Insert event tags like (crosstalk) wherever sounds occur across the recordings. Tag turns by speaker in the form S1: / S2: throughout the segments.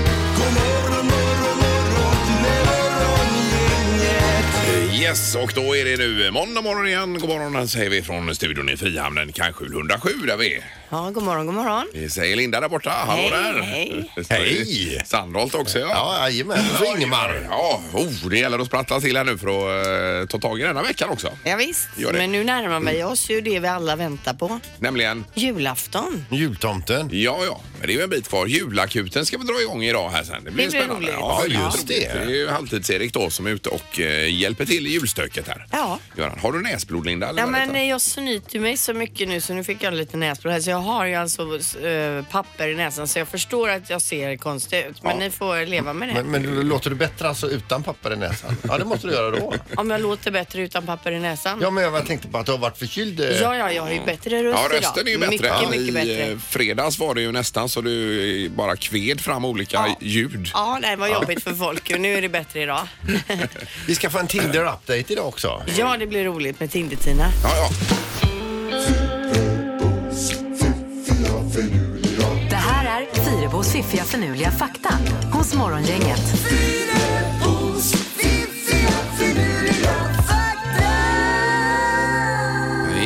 S1: Eh, Yes, och då är det nu eh, måndag morgon igen. God morgon säger vi från studion i Frihamnen, kanske 107 där vi är.
S2: Ja, god morgon, god morgon.
S1: Vi säger Linda där borta. Hallå
S2: Hej,
S1: där! (laughs)
S2: hej.
S3: Hej.
S1: Sandholt också ja.
S3: Ja, jajamän. Och så Ingemar.
S1: Ja, oh, det gäller att sprattla till här nu för att eh, ta tag i denna veckan också.
S2: Ja, visst.
S1: Gör det.
S2: men nu närmar vi oss ju det vi alla väntar på.
S1: Nämligen,
S2: Julafton.
S3: Jultomten.
S1: ja ja, men det är ju en bit kvar. Julakuten ska vi dra igång idag här sen. Det blir,
S2: Det blir
S1: spännande.
S2: roligt.
S1: Ja,
S3: Ja, just
S1: roligt.
S3: det.
S1: Det är ju halvtids-Erik då som är ute och eh, hjälper till i julstöket här.
S2: Ja.
S1: Göran, har du näsblod Linda? eller
S2: Ja,
S1: vad
S2: men
S1: heter det?
S2: eh, jag snyter mig så mycket nu så nu fick jag lite näsblod här. Så jag har ju alltså eh, papper i näsan så jag förstår att jag ser konstig ut. Men
S1: Ja.
S2: ni får leva med det.
S3: Men, men låter du bättre alltså utan papper i näsan? Ja, det måste du göra då.
S2: Om jag låter bättre utan papper i näsan.
S3: Ja, men jag bara tänkte på att du har varit förkyld. eh.
S2: ja, ja, jag har ju bättre röst
S1: Ja,
S2: idag.
S1: rösten är ju bättre.
S2: Mycket, mycket
S1: I
S2: bättre.
S1: eh, fredags var det ju nästan så du eh, bara kved fram olika ljud.
S2: Ja, nej, det var jobbigt för folk. och Nu är det
S1: (laughs)
S2: bättre idag.
S3: Vi ska få en Tinder-update idag också.
S2: ja, det blir roligt med Tinder-Tina.
S1: Ja, ja.
S4: Det här är Fyrabos fiffiga förnuliga fakta hos Morgongänget.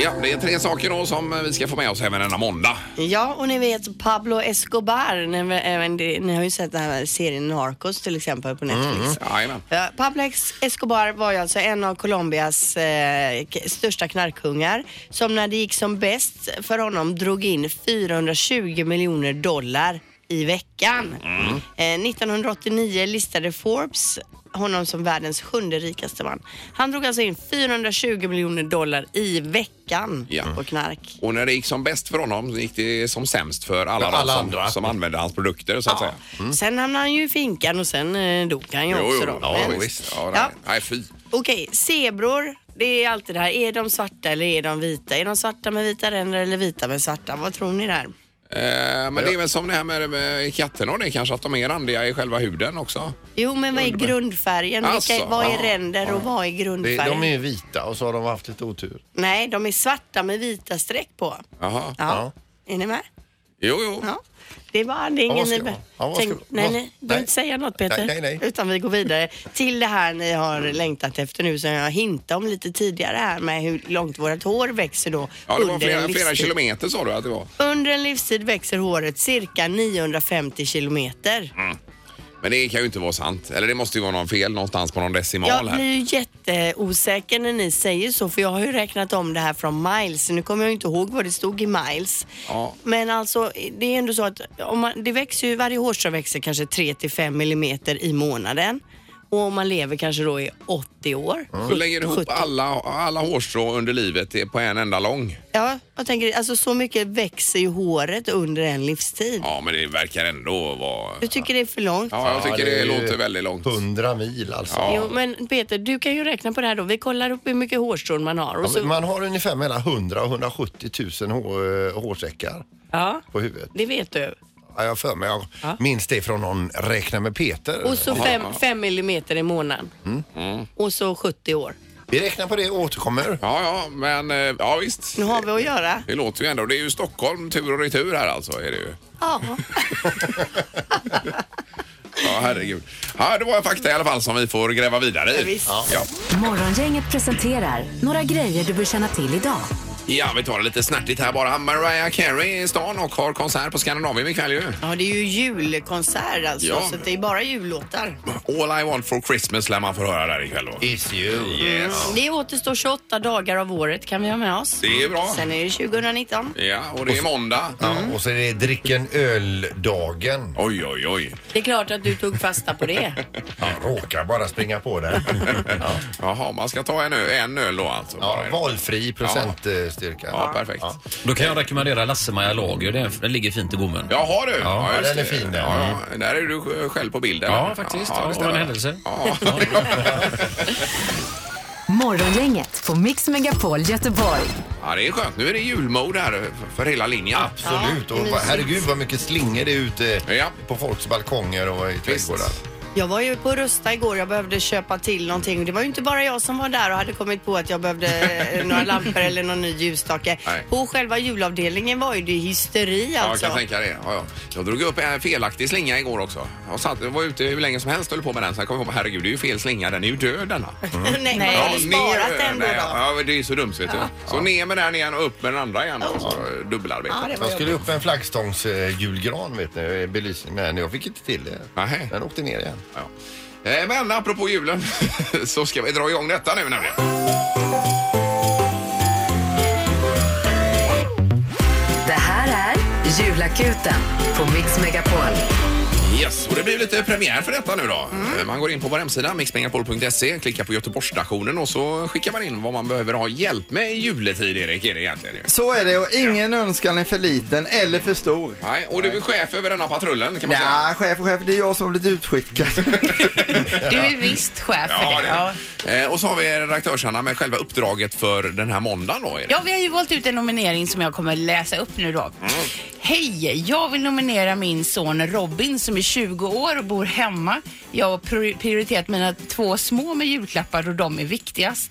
S1: Ja, det är tre saker då som eh, vi ska få med oss även denna måndag.
S2: Ja, och ni vet Pablo Escobar. Ni, även det, ni har ju sett den här serien Narcos till exempel på Netflix.
S1: Jajamän.
S2: Ja, Pablo Ex- Escobar var ju alltså en av Colombias eh, k- största knarkhungar som när det gick som bäst för honom drog in 420 miljoner dollar i veckan. Eh, 1989 listade Forbes honom som världens sjunde rikaste man. Han drog alltså in 420 miljoner dollar i veckan
S1: Ja.
S2: på knark.
S1: Och när det gick som bäst för honom så gick det som sämst för alla,
S3: För alla
S1: de som,
S3: andra.
S1: som använde hans produkter så att säga.
S2: Sen hamnade han ju i finkan och sen eh, dog han ju också då.
S1: ja,
S2: Men-
S1: visst. Ja, nej.
S2: Ja.
S1: nej, fy.
S2: Okej, zebror. Det är alltid det här. Är de svarta eller är de vita? Är de svarta med vita ränder eller vita med svarta? Vad tror ni där?
S1: Eh, men det är väl som det här med, med katterna och det kanske att de är randiga i själva huden också.
S2: Jo, men vad är grundfärgen?
S1: Alltså,
S2: Vilka, vad är
S1: ja,
S2: ränder och vad är
S3: Det-
S2: grundfärgen?
S3: De är ju vita och så har de haft lite otur.
S2: Nej, de är svarta med vita streck på. Ja.
S1: Jaha.
S2: Är ni med?
S1: Jo, jo.
S2: Ja. Det är bara, det är
S3: Ja,
S2: ingen
S3: vad ska
S2: ni
S3: jag-
S2: be-
S3: ja, vad
S2: tänk,
S3: ska-
S2: Nej,
S3: vad-
S2: nej, du behöver inte
S3: nej.
S2: säga något Peter.
S3: Nej, nej, nej.
S2: Utan vi går vidare till det här ni har
S1: Mm.
S2: längtat efter nu som jag hintade om lite tidigare här med hur långt vårt hår växer då
S1: Ja, det var
S2: under en
S1: flera,
S2: livstid.
S1: flera kilometer sa du att det var.
S2: Under en livstid växer håret cirka 950 kilometer.
S1: Men det kan ju inte vara sant. Eller det måste ju vara någon fel någonstans på någon decimal
S2: Jag
S1: här.
S2: blir ju jätteosäker när ni säger så för jag har ju räknat om det här från miles. Nu kommer jag ju inte ihåg vad det stod i miles.
S1: Ja.
S2: Men alltså det är ändå så att om man, det växer ju, varje hårstrå växer kanske 3 till 5 millimeter i månaden. Och om man lever kanske då i 80 år.
S1: Så lägger du ihop
S2: 70.
S1: alla, alla hårstrå under livet är på en enda lång.
S2: Ja, jag tänker alltså så mycket växer ju håret under en livstid.
S1: Ja, men det verkar ändå vara...
S2: Du tycker det är för långt?
S1: Ja, jag tycker
S3: Ja,
S1: det,
S3: är ju
S1: låter väldigt långt.
S3: 100 mil alltså.
S1: Ja.
S2: Jo, men Peter, du kan ju räkna på det här då. Vi kollar upp hur mycket hårstrån man har. Och
S3: Ja, men
S2: så,
S3: Man har ungefär mellan 100 och 170 000 hår, eh, hårsäckar
S2: ja,
S3: på huvudet.
S2: det vet du.
S3: Ja, jag har för mig, jag
S2: Ja.
S3: minns det från någon Räkna med Peter.
S2: Och så 5 fem millimeter i månaden.
S1: Mm.
S2: Och så 70 år.
S3: Vi räknar på det och återkommer.
S1: Ja, ja, men eh, ja visst.
S2: Nu har vi att göra.
S1: Det låter ju ändå. Det är ju Stockholm tur och retur här alltså. Är det ju.
S2: Ja.
S1: Ja, herregud. Ja, det var fakta i alla fall som vi får gräva vidare
S2: Ja,
S1: i.
S2: visst.
S1: Ja, ja.
S4: Morgongänget presenterar några grejer du bör känna till idag.
S1: ja vi tar det lite snärtigt här bara. Mariah Carey är i stan och har konsert på Skandinavien ikväll ju.
S2: ja, det är ju julkonsert alltså.
S1: Ja.
S2: Så att det är bara jullåtar.
S1: All I want for Christmas lär man få höra där ikväll då.
S3: Is you.
S1: Yes.
S2: Det återstår 28 dagar av året kan vi ha med oss.
S1: Det är bra.
S2: Sen är det 2019.
S1: Ja, och det är måndag.
S3: Ja, och så är det dricken öl-dagen.
S1: Oj, oj, oj.
S2: Det är klart att du tog fasta på det.
S3: Ja, råkar bara springa på det. Ja.
S1: Jaha, man ska ta en öl, en öl då alltså?
S3: Ja,
S1: bara en.
S3: valfri procentstyrka.
S1: ja perfekt.
S3: Ja.
S5: Då kan jag rekommendera Lasse-Maja Lager. Den, den ligger fint i gommen.
S1: Jaha du! Ja,
S3: den
S1: just
S3: är fin, den.
S1: Ja, ja. Där är du eh, själv på bilden.
S5: Ja, faktiskt. Ja,
S1: det
S5: av
S1: stämmer.
S5: en händelse.
S1: Ja.
S4: Morgongänget på Mix Megapol Göteborg.
S1: ja, det är skönt. Nu är det julmode här för- för hela linjen.
S3: Absolut. Och vad- herregud vad mycket slingor det är ute
S1: Ja.
S3: på folks balkonger och i
S1: Visst.
S3: trädgårdar.
S2: Jag var ju på Rusta igår, jag behövde köpa till någonting. Det var ju inte bara jag som var där och hade kommit på att jag behövde eh, (laughs) några lampor eller någon ny ljusstake.
S1: Nej.
S2: På själva julavdelningen var ju det hysteri
S1: Ja, jag
S2: alltså.
S1: kan tänka det. Ja, ja. Jag drog upp en felaktig slinga igår också. Jag, satt, jag var ute hur länge som helst och höll på med den. Sen kom jag på herregud, det är ju fel slinga. Den är ju död denna.
S2: (laughs) Nej,
S6: Nej.
S2: man hade sparat
S1: ner-
S2: den då.
S1: nej,
S2: då.
S1: Ja, men det är ju så dumt vet du. Så ner med den igen och upp med den andra igen. då. Så, dubbelarbete.
S2: Ja, det var
S3: Jag skulle upp med en flaggstångsjulgran vet ni, Eh, belysning, men jag fick inte till det.
S1: Nähä.
S3: Den åkte ner igen.
S1: Ja. Eh, Men apropå julen (laughs) så ska vi dra igång detta nu nämligen.
S4: Det här är Julakuten på Mix Megapol.
S1: Yes, och det blir lite premiär för detta nu då.
S6: Mm.
S1: Eh, Man går in på vår hemsida mixmegapol.se, klickar på Göteborgsstationen och så skickar man in vad man behöver ha hjälp med i juletid, Erik, är det egentligen ju.
S7: Så är det och ingen önskan är för liten eller för stor.
S1: Nej, och du är chef över denna patrullen kan man säga.
S7: Ja, chef och chef, det är jag som har blivit utskickad.
S1: (laughs)
S6: Du är visst chef för
S1: Ja,
S6: det.
S1: det.
S6: Ja.
S1: Eh, Och så har vi redaktörsarna med själva uppdraget för den här måndagen då. Erik.
S6: Ja, vi har ju valt ut en nominering som jag kommer läsa upp nu då.
S1: Mm.
S6: Hej! Jag vill nominera min son Robin som är 20 år och bor hemma. Jag har pri- prioriterat mina två små med julklappar och de är viktigast.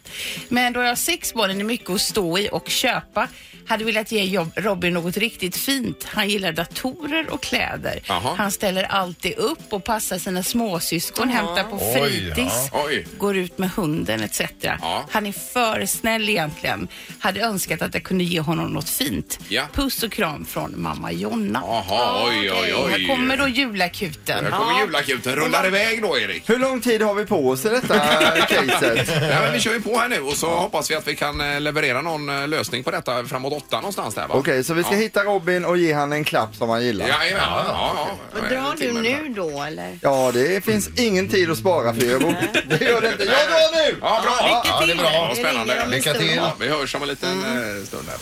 S6: Men då jag har sex barn är det mycket att stå i och köpa. Hade velat ge jobb- Robin något riktigt fint. Han gillar datorer och kläder.
S1: Jaha.
S6: Han ställer alltid upp och passar sina småsyskon, hämtar på
S3: Oj,
S6: fritids
S1: ja. Oj.
S6: går ut med hunden etc.
S1: Ja.
S6: Han är för snäll egentligen. Hade önskat att jag kunde ge honom något fint.
S1: Ja.
S6: Puss och kram från mamma Jonna.
S1: Jaha, oj, oj, oj.
S6: Här kommer då julakuten.
S1: Här kommer julakuten. Rullar iväg då, Erik.
S7: Hur lång tid har vi på oss i detta caset?
S1: Nej, men vi kör ju på här nu och så hoppas vi att vi kan eh, leverera någon eh, lösning på detta framåt åtta någonstans där va?
S7: Okej, så vi ska
S1: ja.
S7: hitta Robin och ge han en klapp som han gillar.
S1: Ja, jajamän. ja, ja, ja.
S2: Vad
S1: Jag är
S2: drar du
S1: till med det
S2: nu
S1: här.
S2: då eller?
S7: Ja, det finns
S1: Mm.
S7: ingen tid att spara för Öbo. Det gör det inte. Jag drar nu!
S1: Ja, bra! Ja,
S3: Ja, det är bra.
S1: Vad spännande.
S3: Lycka till.
S1: Ja, vi hörs om en liten
S2: Mm.
S1: eh, stund här.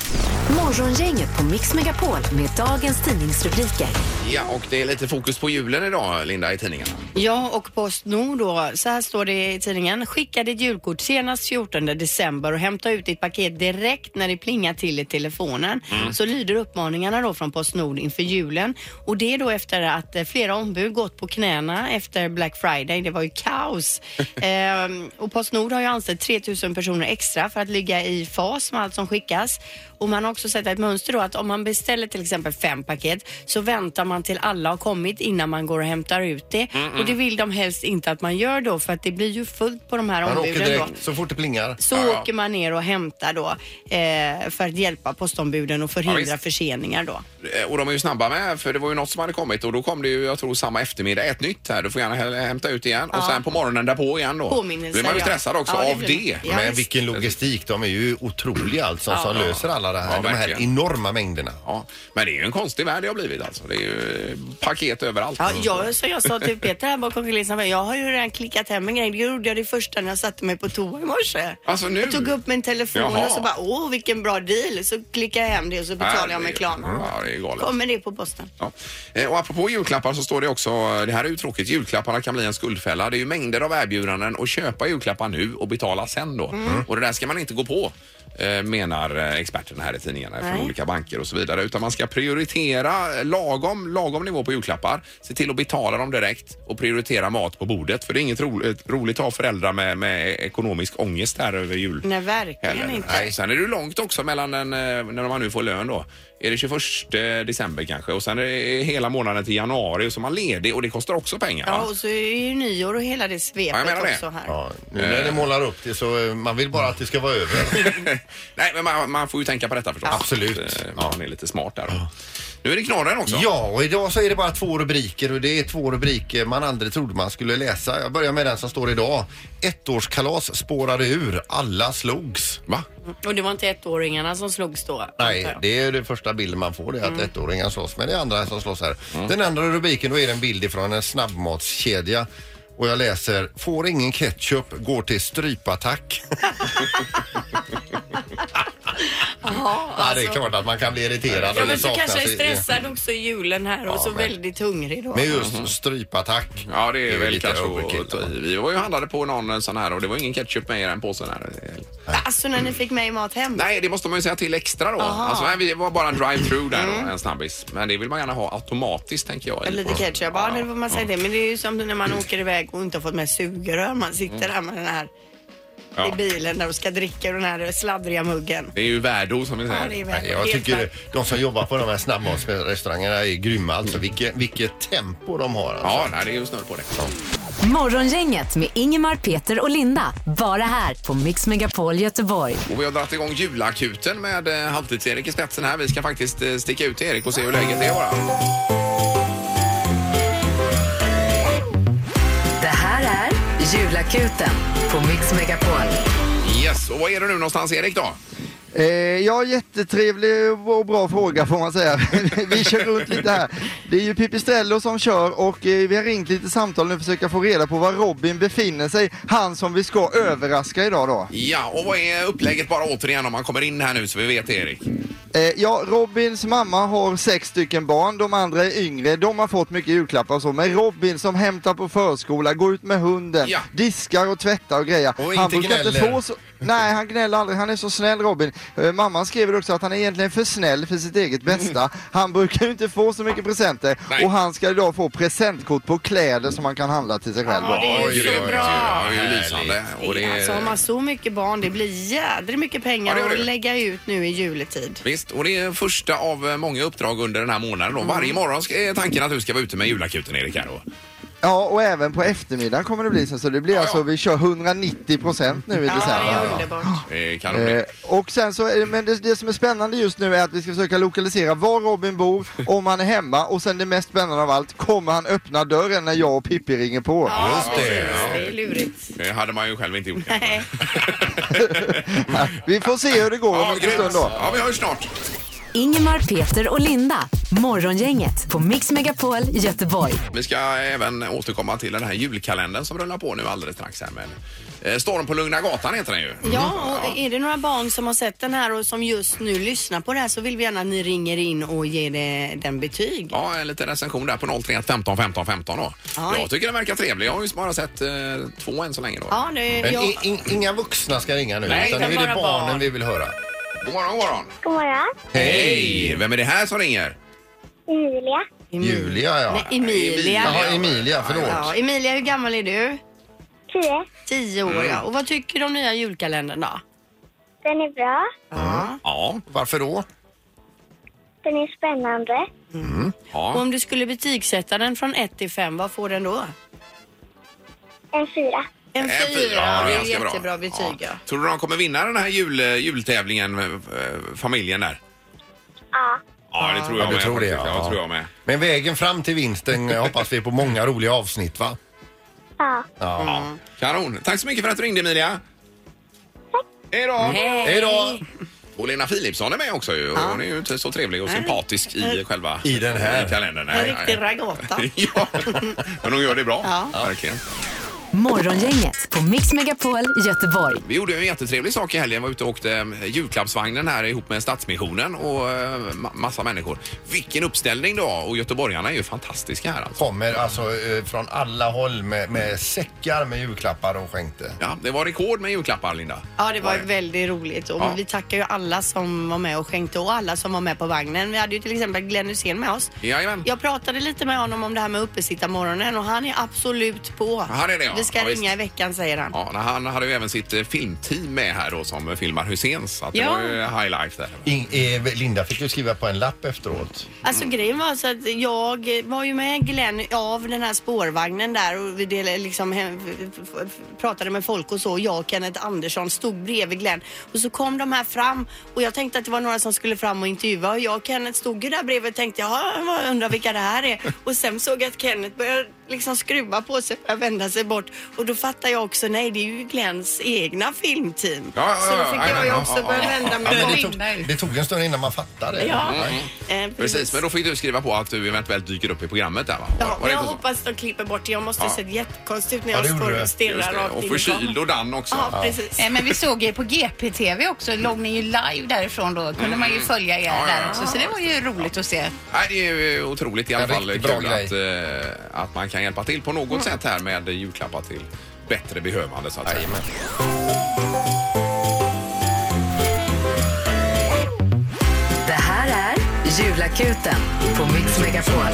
S4: Morgongänget på Mix Megapol med dagens tidningsrubriker.
S1: Ja, och det är lite fokus på julen idag, Linda, i tidningarna.
S2: Ja, och Postnord då. Så här står det i tidningen. Skicka ditt julkort senast 14 december och hämta ut ditt paket direkt när det plingar till i telefonen. Så lyder uppmaningarna då från Postnord inför julen. Och det är då efter att eh, flera ombud gått på knäna efter Black Friday. Det var ju kaos. ehm, och Postnord har ju anställt 3000 personer extra för att ligga i fas med allt som skickas. Och man har också sett ett mönster då att om man beställer till exempel fem paket så väntar man till alla har kommit innan man går och hämtar ut det. Och det vill de helst inte att man gör då för att det blir ju fullt på de här
S3: Man åker
S2: ombuden då.
S3: direkt så fort det plingar.
S2: Så
S1: Ja, ja.
S2: åker man ner och hämtar då eh, för att hjälpa postombuden och förhindra
S1: visst.
S2: förseningar då.
S1: Eh, Och de är ju snabba med, för det var ju något som hade kommit och då kom det ju, jag tror, samma eftermiddag ett nytt här. Du får gärna hä- hämta ut igen och sen på morgonen därpå igen då.
S2: Påminnelser,
S1: Då är man ju
S2: ja.
S1: stressad också
S2: Ja, det
S1: av
S2: blir
S1: det.
S2: man. Ja,
S3: Men
S2: visst.
S3: vilken logistik. De är ju otroliga alltså som löser alla det här,
S1: Ja,
S3: de här
S1: verkligen.
S3: enorma mängderna.
S1: Ja, men det är ju en konstig värld det har blivit alltså. Det är ju eh, paket överallt.
S2: Ja, jag, som jag sa till Peter här bakom kulisserna, jag har ju redan klickat hem en grej. Det gjorde jag det första när jag satte mig på toa i morse.
S1: Alltså, nu?
S2: Jag tog upp min telefon
S1: Jaha.
S2: och så bara, åh vilken bra deal. Så klickade jag hem det och så betalade jag med
S1: Herregud.
S2: Klarna.
S1: Ja, det är galet.
S2: Kommer det på posten.
S1: Ja. Eh, Och apropå julklappar så står det också, det här är ju tråkigt, julklapparna kan bli en skuldfälla. Det är ju mängder av erbjudanden och köpa julklappar nu och betala sen då. Och det där ska man inte gå på eh, menar eh, experterna här i tidningarna från
S2: Nej.
S1: olika banker och så vidare. Utan man ska prioritera lagom, lagom nivå på julklappar. Se till att betala dem direkt och prioritera mat på bordet. För det är inget roligt, roligt att ha föräldrar med, med ekonomisk ångest här över jul.
S2: Nej, verkligen
S1: Eller,
S2: inte.
S1: nej, sen är det ju långt också mellan den, eh, när man nu får lön då. Är det 21 december kanske och sen är det hela månaden till januari och så är man ledig och det kostar också pengar.
S2: Ja,
S1: va?
S2: och så är ju nyår och hela det
S1: Ja,
S2: svepet
S1: jag menar det.
S2: också här.
S3: Ja, nu när ni målar upp det så eh, man vill bara att det ska vara över.
S1: (laughs) Nej, men man, man får ju tänka på detta förstås.
S3: Ja. Absolut.
S1: Eh,
S3: Ja.
S1: Man är lite smart där. då. Nu är det knorren också.
S3: Ja, och idag så är det bara två rubriker och det är två rubriker man aldrig trodde man skulle läsa. Jag börjar med den som står idag. Ettårskalas spårade ur. Alla slogs.
S1: Va?
S2: Och det var inte ettåringarna som slogs då? antar
S3: Nej,
S2: jag.
S3: det är det första bilden man får, det är att
S1: Mm.
S3: ettåringar slåss. Men det är andra som slåss här. Den andra rubriken, då är det en bild ifrån en snabbmatskedja. Och jag läser, får ingen
S1: (laughs)
S3: ketchup, går till strypattack. Ja,
S1: alltså.
S3: det är klart att man kan bli irriterad.
S2: Ja,
S3: eller
S2: men så
S3: saknar
S2: kanske jag är
S3: sig-
S2: stressad också i julen här och så
S3: men-
S2: väldigt hungrig då.
S3: Men just strypattack.
S1: Mm. Ja, det är,
S3: ju
S1: väl
S3: lite
S1: kanske
S3: overkill,
S1: att ta i. Vi var ju och handlade på någon sån här och det var ingen ketchup med i den påsen här.
S2: Alltså när ni fick mig mat hem?
S1: Nej, det måste man ju säga till extra då.
S2: Aha. Mm.
S1: Alltså, nej, vi var bara drive-through där då, en snabbis. Men det vill man gärna ha automatiskt tänker jag. i.
S2: Lite ketchup, ja nu får man säga det. Men det är ju som när man åker iväg och inte har fått med sugrör. Man sitter där med den här i
S1: Ja.
S2: bilen där och ska dricka ur den här sladdriga muggen.
S1: Det är ju värdo som vi
S2: Ja, det är
S1: säger.
S2: väl
S3: Nej, jag
S2: helt
S3: tycker
S2: värt.
S3: de som jobbar på de här snabbmatsrestaurangerna är grymma alltså. Vilket, vilket tempo de har alltså.
S1: Ja, nej, det är ju snurr på det.
S4: Morgongänget med Ingemar, Peter och Linda. Bara här på Mix Megapol Göteborg.
S1: Och vi har dragit igång julakuten med eh, Halvtids-Erik i spetsen här. Vi ska faktiskt eh, sticka ut till Erik och se hur läget är bara.
S4: Det här är Julakuten på Mix Megapol.
S1: Yes, och var är du nu någonstans Erik då?
S7: Eh, ja, jättetrevlig och bra fråga får man säga. (laughs) vi kör runt lite här. Det är ju Pipistrello som kör och eh, vi har ringt lite samtal nu och försöka få reda på var Robin befinner sig. Han som vi ska överraska idag då.
S1: Ja, och vad är upplägget bara återigen om man kommer in här nu så vi vet Erik?
S7: Eh, ja, Robins mamma har sex stycken barn, de andra är yngre, de har fått mycket julklappar och så. Men Robin som hämtar på förskola, går ut med hunden,
S1: Ja.
S7: diskar och tvättar och grejer.
S3: Och
S7: han
S3: inte
S7: brukar inte
S3: gnäller.
S7: få så... Nej, han gnäller aldrig, han är så snäll Robin. Eh, mamman skriver också att han är egentligen för snäll för sitt eget bästa. Han brukar ju inte få så mycket presenter
S1: Nej.
S7: och han ska idag få presentkort på kläder som han kan handla till sig själv.
S2: Ja, det är
S3: Oj,
S2: så
S3: oj, oj.
S2: bra.
S1: Ja, det är ju lysande. Och det
S2: Alltså har man så mycket barn, det blir jädrigt mycket pengar
S1: Ja, det gör
S2: att
S1: det.
S2: lägga ut nu i juletid.
S1: Visst, och det är första av eh, många uppdrag under den här månaden. Då.
S2: Mm.
S1: Varje morgon ska- är tanken att du ska vara ute med julakuten, Erik. Här då.
S7: Ja, och även på eftermiddagen kommer det bli så. Så det blir
S1: Ja, ja.
S7: alltså, vi kör 190% nu i
S2: Ja, det
S7: december.
S2: är underbart.
S1: Eh, Kanon
S7: Eh,
S1: det.
S7: och sen så, är det- men det, det som är spännande just nu är att vi ska försöka lokalisera var Robin bor, om han är hemma och sen det mest spännande av allt, kommer han öppna dörren när jag och Pippi ringer på?
S2: Ja,
S3: det.
S2: det är lurigt.
S1: det hade man ju själv inte gjort.
S2: Nej.
S7: (laughs) Vi får se hur det går om en liten
S1: grymt.
S7: stund då.
S1: (laughs) ja, vi hörs snart.
S4: Ingemar, Peter och Linda. Morgongänget på Mix Megapol Göteborg.
S1: Vi ska även återkomma till den här julkalendern som rullar på nu alldeles strax. Här, men, eh, Storm på Lugna Gatan heter den ju. Mm.
S2: Ja, och är det några barn som har sett den här och som just nu lyssnar på det här så vill vi gärna att ni ringer in och ger det, den betyg.
S1: Ja, en liten recension där på 031 15 15 15 då.
S2: Ja.
S1: Jag tycker den verkar trevlig. Jag har ju bara sett eh, två än så länge då.
S2: Ja, det,
S3: Men
S2: jag,
S3: i- in, inga vuxna ska ringa nu,
S1: Nej,
S3: utan nu
S1: utan
S3: är det
S2: bara
S3: barnen
S2: barn. Mm.
S3: vi vill höra.
S1: God morgon, god morgon.
S8: God morgon.
S1: Hej! Vem är det här som ringer?
S8: Julia.
S2: Emilia.
S3: Julia, ja.
S2: Nej, Emilia.
S3: Jaha, Emilia, förlåt.
S2: Ja, Emilia, hur gammal är du?
S8: Tio.
S2: Tio år, ja.
S1: Mm.
S2: Och vad tycker du om nya julkalendern då?
S8: Den är bra.
S2: Ja.
S1: Ja.
S3: Varför då?
S8: Den är spännande.
S2: Och
S1: ja.
S2: om du skulle betygsätta den från 1 till 5, vad får den då?
S8: En fyra.
S2: En
S1: En fyra,
S2: 4,
S1: ja,
S2: det är
S1: ganska bra.
S2: jättebra betyg. Ja.
S1: Tror du de kommer vinna den här jul, jultävlingen, eh, familjen där?
S8: Ja.
S1: Ja, det tror jag
S3: Ja, du
S1: med.
S3: tror det,
S1: faktiskt.
S3: ja.
S1: Jag tror jag med.
S3: Men vägen fram till vinsten eh, hoppas vi på många roliga avsnitt, va?
S8: Ja.
S3: Ja.
S1: Kanon. Tack så mycket för att du ringde, Emilia. Hej då!
S3: Hej då!
S1: Och Lena Philipsson är med också ju. Och Hon är ju inte så trevlig och sympatisk i själva
S3: I den här.
S1: i kalendern.
S2: En
S1: Nej,
S2: riktig
S1: nej. (laughs)
S2: ragata.
S1: Ja, men hon gör det bra.
S2: Ja.
S1: Verkligen.
S4: Morgongänget på Mix Megapol Göteborg.
S1: Vi gjorde ju en jättetrevlig sak i helgen. Vi var ute och åkte eh, julklappsvagnen här ihop med Stadsmissionen och eh, ma- massa människor. Vilken uppställning då! Och göteborgarna är ju fantastiska här alltså.
S3: Kommer alltså eh, från alla håll med, med säckar med julklappar och skänkte.
S1: Ja, det var rekord med julklappar, Linda.
S2: Ja, det var väldigt roligt och
S1: Ja.
S2: vi tackar ju alla som var med och skänkte och alla som var med på vagnen. Vi hade ju till exempel Glenn Hussein med oss.
S1: Jajamän.
S2: Jag pratade lite med honom om det här med uppesittarmorgonen och han är absolut på.
S1: han är det, ja.
S2: Vi ska
S1: Ja, visst.
S2: ringa i veckan säger han.
S1: Ja, nej, han hade ju även sitt eh, filmteam med här då som eh, filmar Hussein. Så att det
S2: Ja.
S1: var ju high life där.
S3: In, eh, Linda fick ju skriva på en lapp efteråt.
S2: Alltså
S1: Mm.
S2: grejen var så att jag var ju med Glenn av den här spårvagnen där och vi delade, liksom, hem- f- f- f- pratade med folk och så. Jag och Kenneth Andersson stod bredvid Glenn och så kom de här fram och jag tänkte att det var några som skulle fram och intervjua och jag och Kenneth stod ju där bredvid och tänkte ja,
S1: (laughs)
S2: jag undrar vilka det här är och sen såg jag att Kenneth började liksom skruva på sig och vända sig bort Och då fattar jag också, nej det är ju Glens egna filmteam.
S1: Ja, ja,
S2: Så då
S1: ja,
S2: fick
S1: ja,
S2: jag ju
S1: ja,
S2: också
S1: ja,
S2: börja
S1: ja,
S2: vända
S3: Ja,
S2: mig
S3: men
S2: om.
S3: det, tog, det tog en stund innan man fattade. Mm.
S2: Ja. Eh,
S1: Precis, men då fick du skriva på att du eventuellt dyker upp i programmet där va?
S2: Ja, men
S1: det
S2: jag
S1: inte så?
S2: hoppas de klipper bort det. Jag måste
S1: Ja.
S2: ha sett jättekonstigt ut när
S3: Ja,
S2: jag
S3: det gjorde
S2: står
S3: du.
S2: och
S1: Just
S2: stirrar
S1: det,
S2: rakt in
S1: Och
S2: i
S1: förkyld
S2: kameran.
S1: och Dan också.
S2: Ja, precis.
S6: Nej, Eh, men vi såg er på GP-TV också. Låg ni ju live därifrån då. kunde man ju följa er
S1: Mm. Ja, ja,
S6: där
S1: ja.
S6: också. Så det var ju roligt att se.
S1: Nej, det är ju otroligt i alla
S3: En
S1: fall
S3: riktigt bra
S1: kul att, eh, att man kan hjälpa till på
S2: Mm.
S1: något sätt här med julklappar till bättre behövande så att säga.
S4: Det här är Julakuten på Mix Megapol.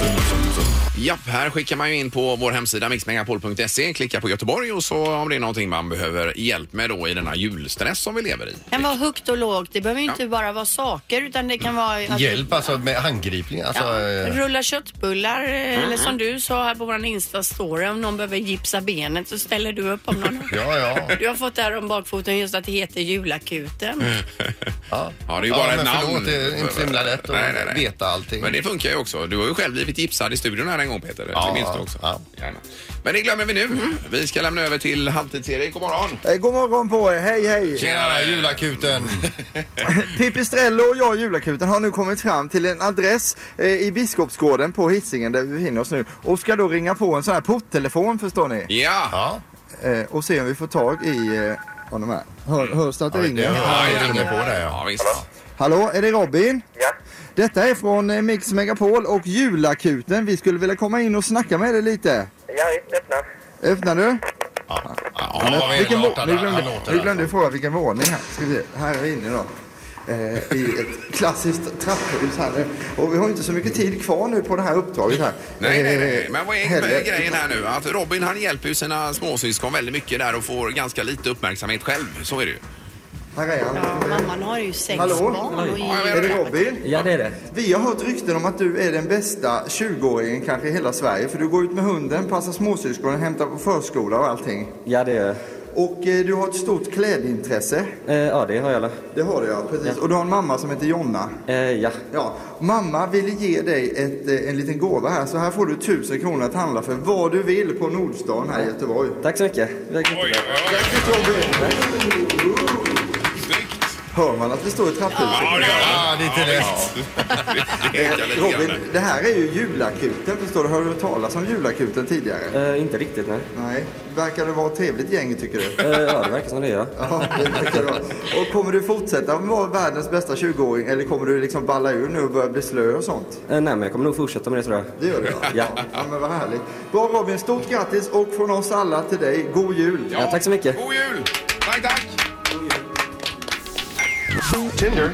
S1: Japp, här skickar man ju in på vår hemsida mixmegapol.se, klicka på Göteborg och så om det är någonting man behöver hjälp med då i denna julstress som vi lever i.
S2: Det kan vara högt och lågt. Det behöver ju inte bara vara saker utan det kan vara att
S3: Hjälp alltså med handgripning. Alltså, eh,
S2: rulla köttbullar eh, eller som du sa här på vår Insta-story om någon behöver gipsa benet så ställer du upp om någon.
S3: ja, ja.
S2: Du har fått det här om bakfoten just att det heter julakuten.
S3: Ja,
S1: Ja, det är ju bara
S3: men
S1: ett namn.
S3: Förlåt, det är inte så himla lätt att
S1: Nej, nej, nej.
S3: veta allting.
S1: Men det funkar ju också. Du har ju själv blivit gipsad i studion här en gång Peter.
S3: Ja,
S1: det minns du också.
S3: ja.
S1: Gärna. Men det glömmer vi nu. Vi ska lämna över till Halvtids-Erik. God morgon!
S7: Eh, God morgon på er, hej hej!
S3: Tjenare, julakuten!
S7: (laughs) Pipistrello och jag i julakuten har nu kommit fram till en adress eh, i Biskopsgården på Hisingen där vi befinner oss nu och ska då ringa på en sån här porttelefon förstår ni
S1: Ja!
S3: Ja,
S7: eh, och se om vi får tag i eh, honom här. Hör, hörs det att det
S3: det
S7: ringer?
S3: jag ringer på det.
S1: Ja,
S3: Ja.
S1: visst.
S7: Hallå, är det Robin?
S9: Ja.
S7: Detta är från eh, Mix Megapol och julakuten. Vi skulle vilja komma in och snacka med dig lite.
S9: Ja, öppna.
S7: Öppnar du?
S1: Ja,
S3: Han var
S7: Vilken vå-
S3: elak,
S7: vi
S3: han
S7: glömde,
S3: låter
S7: vi
S3: där.
S7: glömde fråga vilken våning här. Ska vi, här är vi inne då. Eh, I ett klassiskt trapphus här nu. Och vi har ju inte så mycket tid kvar nu på det här uppdraget här.
S1: Nej, nej, nej.
S7: Eh,
S1: Men vad är
S7: heller.
S1: grejen här nu? Att Robin han hjälper ju sina småsyskon väldigt mycket där och får ganska lite uppmärksamhet själv. Så är det ju.
S7: Här är han.
S2: Mamman har ju sex
S7: Hallå?
S2: barn. Och
S1: Ja, jag
S7: Är
S1: vet.
S7: det Robin?
S9: Ja, det är det.
S7: Vi har hört rykten om att du är den bästa 20-åringen kanske i hela Sverige. För du går ut med hunden, passar småsyskonen, hämtar på förskola och allting.
S9: Ja, det är
S7: Och eh, du har ett stort klädintresse.
S9: eh, Ja, det har jag. eller?
S7: Det har du ja, precis. Och du har en mamma som heter Jonna.
S9: Eh, ja.
S7: Ja, mamma ville ge dig ett, eh, en liten gåva här. Så här får du 1000 kronor att handla för vad du vill på Nordstan här i Göteborg.
S9: Tack så mycket.
S1: Oj, oj, oj. Snyggt!
S7: Hör man att vi står i trapphuset?
S1: Ja, det gör han.
S3: Ja, det är inte lätt.
S1: Det
S7: Eh,
S1: ekar lite
S7: Robin,
S1: grann.
S7: det här är ju julakuten förstår du. Har du hört talas om julakuten tidigare?
S9: Eh, inte riktigt, nej.
S7: Nej. Verkar det vara ett trevligt gäng tycker du?
S9: Eh, ja, det verkar som det gör.
S7: (laughs) Ja, det verkar det vara. Och kommer du fortsätta vara världens bästa 20-åring eller kommer du liksom balla ur nu och börja bli slö och sånt?
S9: Eh, nej, men jag kommer nog fortsätta med det, tror jag.
S7: Det gör du ja.
S9: Ja.
S7: ja men vad härligt. Bra Robin, stort grattis och från oss alla till dig, god jul!
S9: Ja, tack så mycket.
S1: God jul! Tack, tack!
S8: Tinder.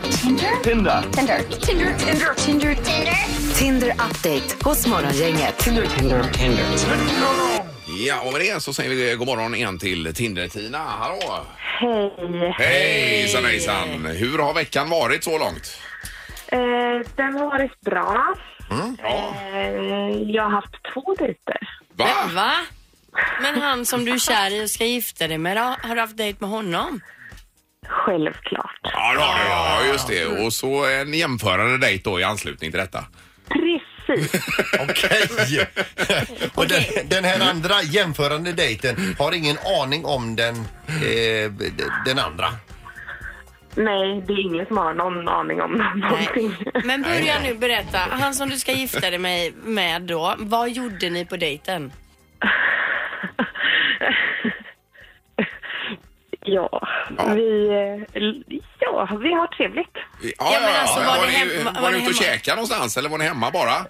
S8: Tinder. Tinder. Tinder. Tinder.
S4: Tinder update hos Morgongänget.
S1: Ja, och med det så säger vi god morgon igen till Tinder-Tina. Hallå!
S8: Hej.
S1: Hejsan, hejsan! Hur har veckan varit så långt?
S8: Eh, den har varit bra. Eh, jag har haft två dejter.
S1: Va?
S2: Men, va? Men han som du är kär i och ska gifta dig med, då, har du haft dejt med honom?
S8: Självklart.
S1: Ja, det har du. Ja, just det. Och så en jämförande dejt då i anslutning till detta.
S8: Precis.
S3: Okej. (laughs) Och den, den här andra jämförande dejten har ingen aning om den, eh, d- den andra.
S8: Nej, det är ingen som har någon aning om någonting.
S2: Men börja nu berätta. Han som du ska gifta dig med, med då, vad gjorde ni på dejten?
S8: ja, vi... eh, l- Ja, vi har trevligt.
S1: Ja,
S2: Ja, men alltså, var
S1: var,
S2: ni
S1: ni,
S2: hem- var-
S1: var,
S2: var
S1: ni
S2: ni
S1: ute och
S2: hemma?
S1: käkade någonstans eller var ni hemma bara?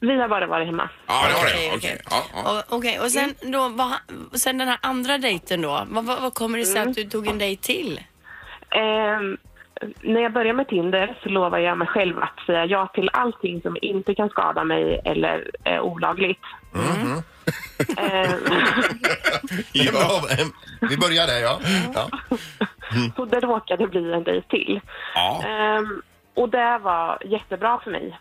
S8: Vi har bara varit hemma.
S1: Ja, det var
S2: Okej,
S1: det. Okej. Ja, ja.
S2: Och, okej, och sen, då, vad, han- sen den här andra dejten då, vad, vad, vad kommer det sig att du tog en dejt till?
S8: Ehm, när jag börjar med Tinder så lovar jag mig själv att säga ja till allting som inte kan skada mig eller är olagligt. Ehm,
S3: Det var- Vi börjar där ja. ja.
S8: så det råkade bli en dejt till.
S1: ja.
S8: Ehm, och det var jättebra för mig.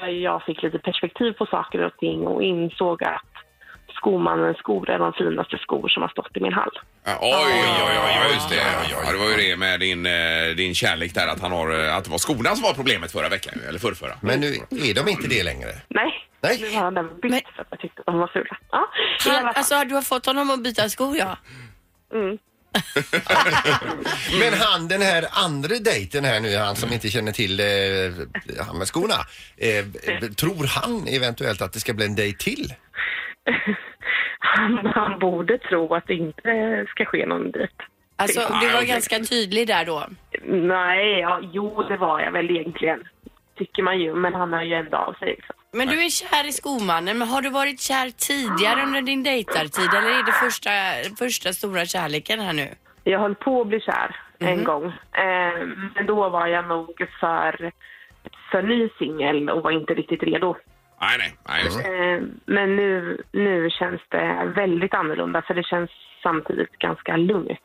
S8: För jag fick lite perspektiv på saker och ting och insåg att Skomannens skor är de finaste skor som har stått i min hall.
S1: Ja, Oj, oj, oj, oj, just det. Ja, det var ju det med din, eh, din kärlek där att, han har, eh, att det var skorna som var problemet förra veckan, eller förrförra.
S3: Men nu är de inte det längre.
S8: Nej,
S3: Nej.
S8: nu har han den bytt för att jag tyckte att de var fula. Ja, i
S2: Han,
S8: alla fall.
S2: alltså du har fått honom att byta skor ja.
S8: Mm.
S3: Men han den här andra dejten här nu, han som inte känner till eh, han med skorna. Eh, b- tror han eventuellt att det ska bli en dejt till?
S8: han, (laughs) han borde tro att det inte ska ske någon dejt.
S2: Alltså du var ganska tydlig där då.
S8: Nej, ja, jo det var jag väl egentligen. Tycker man ju, men han har ju ändå av sig. Liksom.
S2: Men du är kär i skomannen, men har du varit kär tidigare under din dejtartid eller är det första, första stora kärleken här nu?
S8: Jag höll på att bli kär en gång. Eh, men då var jag nog för, för ny singel och var inte riktigt redo.
S1: Nej, nej, nej just det.
S8: Eh, men nu, nu känns det väldigt annorlunda för det känns samtidigt ganska lugnt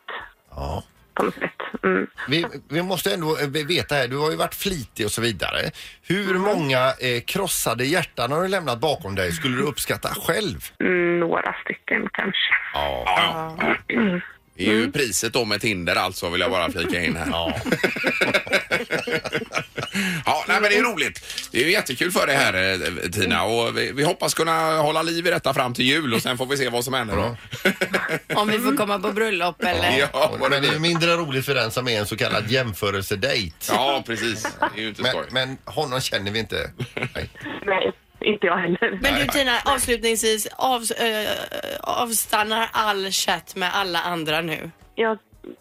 S3: Ja.
S8: på något sätt. Mm.
S3: Vi, vi måste ändå eh, veta här, du har ju varit flitig och så vidare. Hur
S1: Mm.
S3: många eh, krossade hjärtan har du lämnat bakom dig skulle du uppskatta själv?
S8: Mm, Några stycken kanske.
S1: Ja, ja, ja. Det är ju priset då med Tinder alltså vill jag bara flika in här. Ja, (laughs) ja nej, men det är roligt. Det är ju jättekul för dig här eh, Tina och vi, vi hoppas kunna hålla liv i detta fram till jul och sen får vi se vad som händer då.
S2: Om vi får komma på bröllop eller?
S1: Mm. Ja, vad
S3: Men det
S1: det
S3: är ju
S1: blir.
S3: mindre roligt för den som är en så kallad jämförelsedejt.
S1: ja precis. Det är ju inte skoj.
S3: Men, men honom känner vi inte.
S1: (laughs)
S3: Nej.
S8: Nej, inte jag heller.
S2: Men du Tina, avslutningsvis, av, eh, avstannar all chatt med alla andra nu?
S8: Jag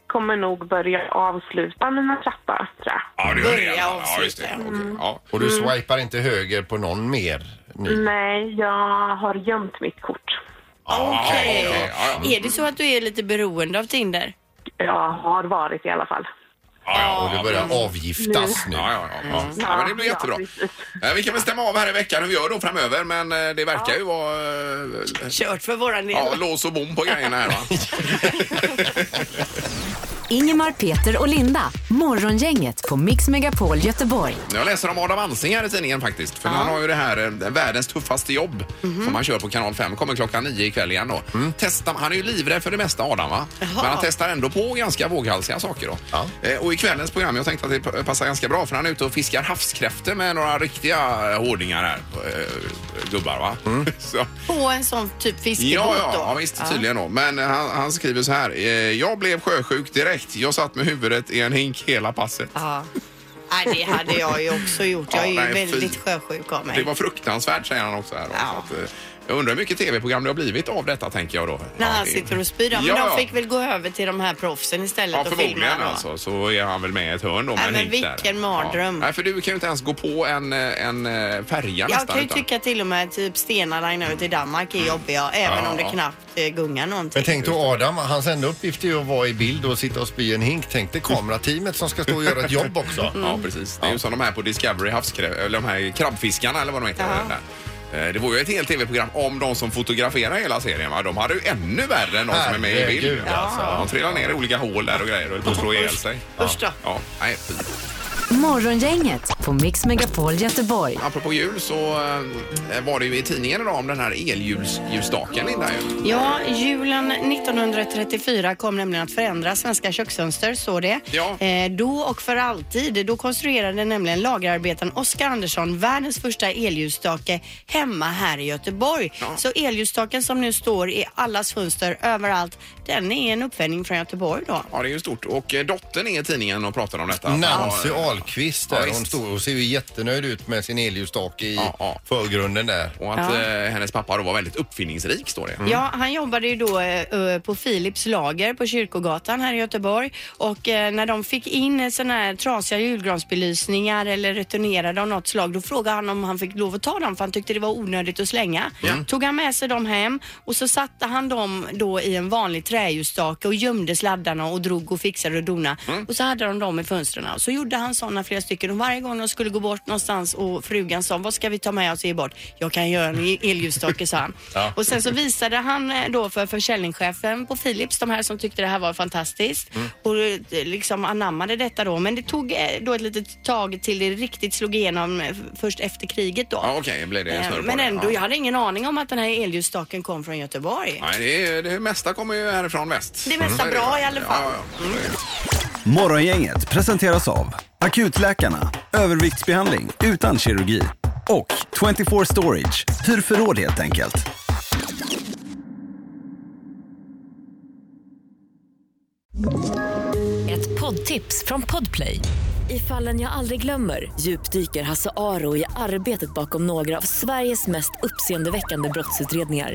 S8: kommer nog börja avsluta mina chattar, tror jag.
S1: Ja, du gör det.
S2: Börja
S1: Ja,
S2: avsluta.
S1: just det. Okej, ja.
S3: Och du swipar inte höger på någon mer nu?
S8: Nej, jag har gömt mitt kort.
S2: Okej. Mm.
S1: okej, ja, ja.
S2: Är det så att du är lite beroende av Tinder?
S8: Jag har varit i alla fall.
S1: Ja,
S3: Och
S1: ja,
S3: du börjar avgiftas nu.
S1: Ja, ja, ja. ja. Nej, men det blir
S8: Mm. Ja,
S1: jättebra.
S8: precis.
S1: Eh, Vi kan väl stämma av här i veckan hur vi gör då framöver men eh, det verkar ju vara eh,
S2: Kört för våran del.
S1: ja, lås och bom på grejerna här va?
S4: Ingemar, Peter och Linda. Morgongänget på Mix Megapol Göteborg.
S1: Jag läser om Adam Alsing här i tidningen faktiskt. För han har ju det här eh, världens tuffaste jobb som han kör på kanal 5. Kommer klockan 9 ikväll igen då. Testa, han är ju livrädd för det mesta Adam va? Men han testar ändå på ganska våghalsiga saker då.
S3: Ja.
S1: Eh, och i kvällens program, jag tänkte att det p- passar ganska bra för han är ute och fiskar havskräftor med några riktiga eh, hårdingar här. eh, Gubbar va? (laughs) Så,
S2: På en sån typ fiskebåt
S1: Ja, ja,
S2: då?
S1: ja visst tydligen då. Men eh, han, han skriver så här. eh, Jag blev sjösjuk direkt. Jag satt med huvudet i en hink hela passet.
S2: Ja. Nej, det hade jag ju också gjort. Jag är ju
S1: Ja, nej, fy.
S2: väldigt sjösjuk av mig.
S1: Det var fruktansvärt säger han också här. då.
S2: Ja.
S1: Så att, eh, jag undrar hur mycket tv-program det har blivit av detta tänker jag då.
S2: När
S1: Ja,
S2: han
S1: det-
S2: sitter och spyr. Ja, men
S1: Ja,
S2: de fick väl gå över till de här proffsen istället
S1: Ja,
S2: och filma.
S1: förmodligen
S2: då.
S1: alltså. Så är han väl med i ett hörn då med
S2: Nej,
S1: en
S2: men
S1: hink där.
S2: vilken mardröm.
S1: Ja. Nej, för du kan ju inte ens gå på en, eh, en eh, färja
S2: Jag
S1: nästan.
S2: kan ju
S1: utan-
S2: tycka till och med typ Stena Line ut i Danmark är jobbiga, även om det knappt eh, gungar någonting.
S3: Men tänk då Adam, hans enda uppgift är ju att vara i bild och sitta och spy i en hink. Tänk dig kamerateamet som ska stå och göra ett jobb också.
S1: Mm. (laughs) Ja,
S2: Mm.
S1: precis. Det är ju som de här på Discovery, havskrä- eller de här krabbfiskarna eller vad de heter. Där. Eh, Det var ju ett helt tv-program om de som fotograferar hela serien. Va? De hade ju ännu värre än de som är med i bild.
S3: Herregud, alltså.
S1: De trillar ner i olika hål där och grejer och höll på att slå ihjäl sig.
S2: Usch då.
S1: Ja, nej, fy.
S4: Morgongänget på Mix Megapol Göteborg.
S1: Apropå jul så eh, var det ju i tidningen idag om den här elljusstaken, Linda. Ju.
S2: Ja, julen 1934 kom nämligen att förändra svenska köksfönster, så det.
S1: Ja.
S2: Eh, då och för alltid. Då konstruerade nämligen lagerarbetaren Oskar Andersson världens första elljusstake hemma här i Göteborg. Så elljusstaken som nu står i allas fönster överallt, den är en uppfinning från Göteborg då.
S1: Ja, det är ju stort. Och eh, dottern är i tidningen och pratar om detta. Att han
S3: Nancy
S8: alltså,
S1: har-
S3: Ahlqvist
S1: Ja,
S3: där,
S1: visst.
S3: hon står och ser ju jättenöjd ut med sin elljusstake i
S1: Ja, ja.
S3: förgrunden där.
S1: Och att eh, hennes pappa då var väldigt uppfinningsrik, står det.
S8: Mm.
S2: Ja, han jobbade ju då eh, eh, på Philips lager på Kyrkogatan här i Göteborg och eh, när de fick in sådana här trasiga julgransbelysningar eller returnerade av något slag då frågade han om han fick lov att ta dem för han tyckte det var onödigt att slänga. Tog han med sig dem hem och så satte han dem då i en vanlig träljusstake och gömde alltså. sladdarna och drog och fixade och donade och så hade de dem i fönstren och så gjorde han sådana flera stycken och varje gång barn och skulle gå bort någonstans och frugan sa, vad ska vi ta med oss och ge bort? Jag kan göra en elljusstake,
S1: (laughs)
S2: sa han.
S10: Ja.
S2: Och sen så visade han eh, då för försäljningschefen på Philips, de här som tyckte det här var fantastiskt
S10: Mm.
S2: och eh, liksom anammade detta då. Men det tog eh, då ett litet tag till det riktigt slog igenom eh, först efter kriget då.
S1: Ja, okej, blev det
S2: Eh,
S1: snurr på
S2: Men
S1: det.
S2: ändå,
S1: Ja.
S2: jag hade ingen aning om att den här elljusstaken kom från Göteborg.
S1: Nej, det, är- det mesta kommer ju härifrån väst.
S2: Det mesta
S1: Så är det.
S2: bra i alla fall.
S1: Ja, ja.
S8: Morgongänget presenteras av Akutläkarna, överviktsbehandling utan kirurgi och 24 Storage, hur förråd helt enkelt.
S4: Ett poddtips från Podplay. I fallen jag aldrig glömmer djupdyker Hasse Aro i arbetet bakom några av Sveriges mest uppseendeväckande brottsutredningar.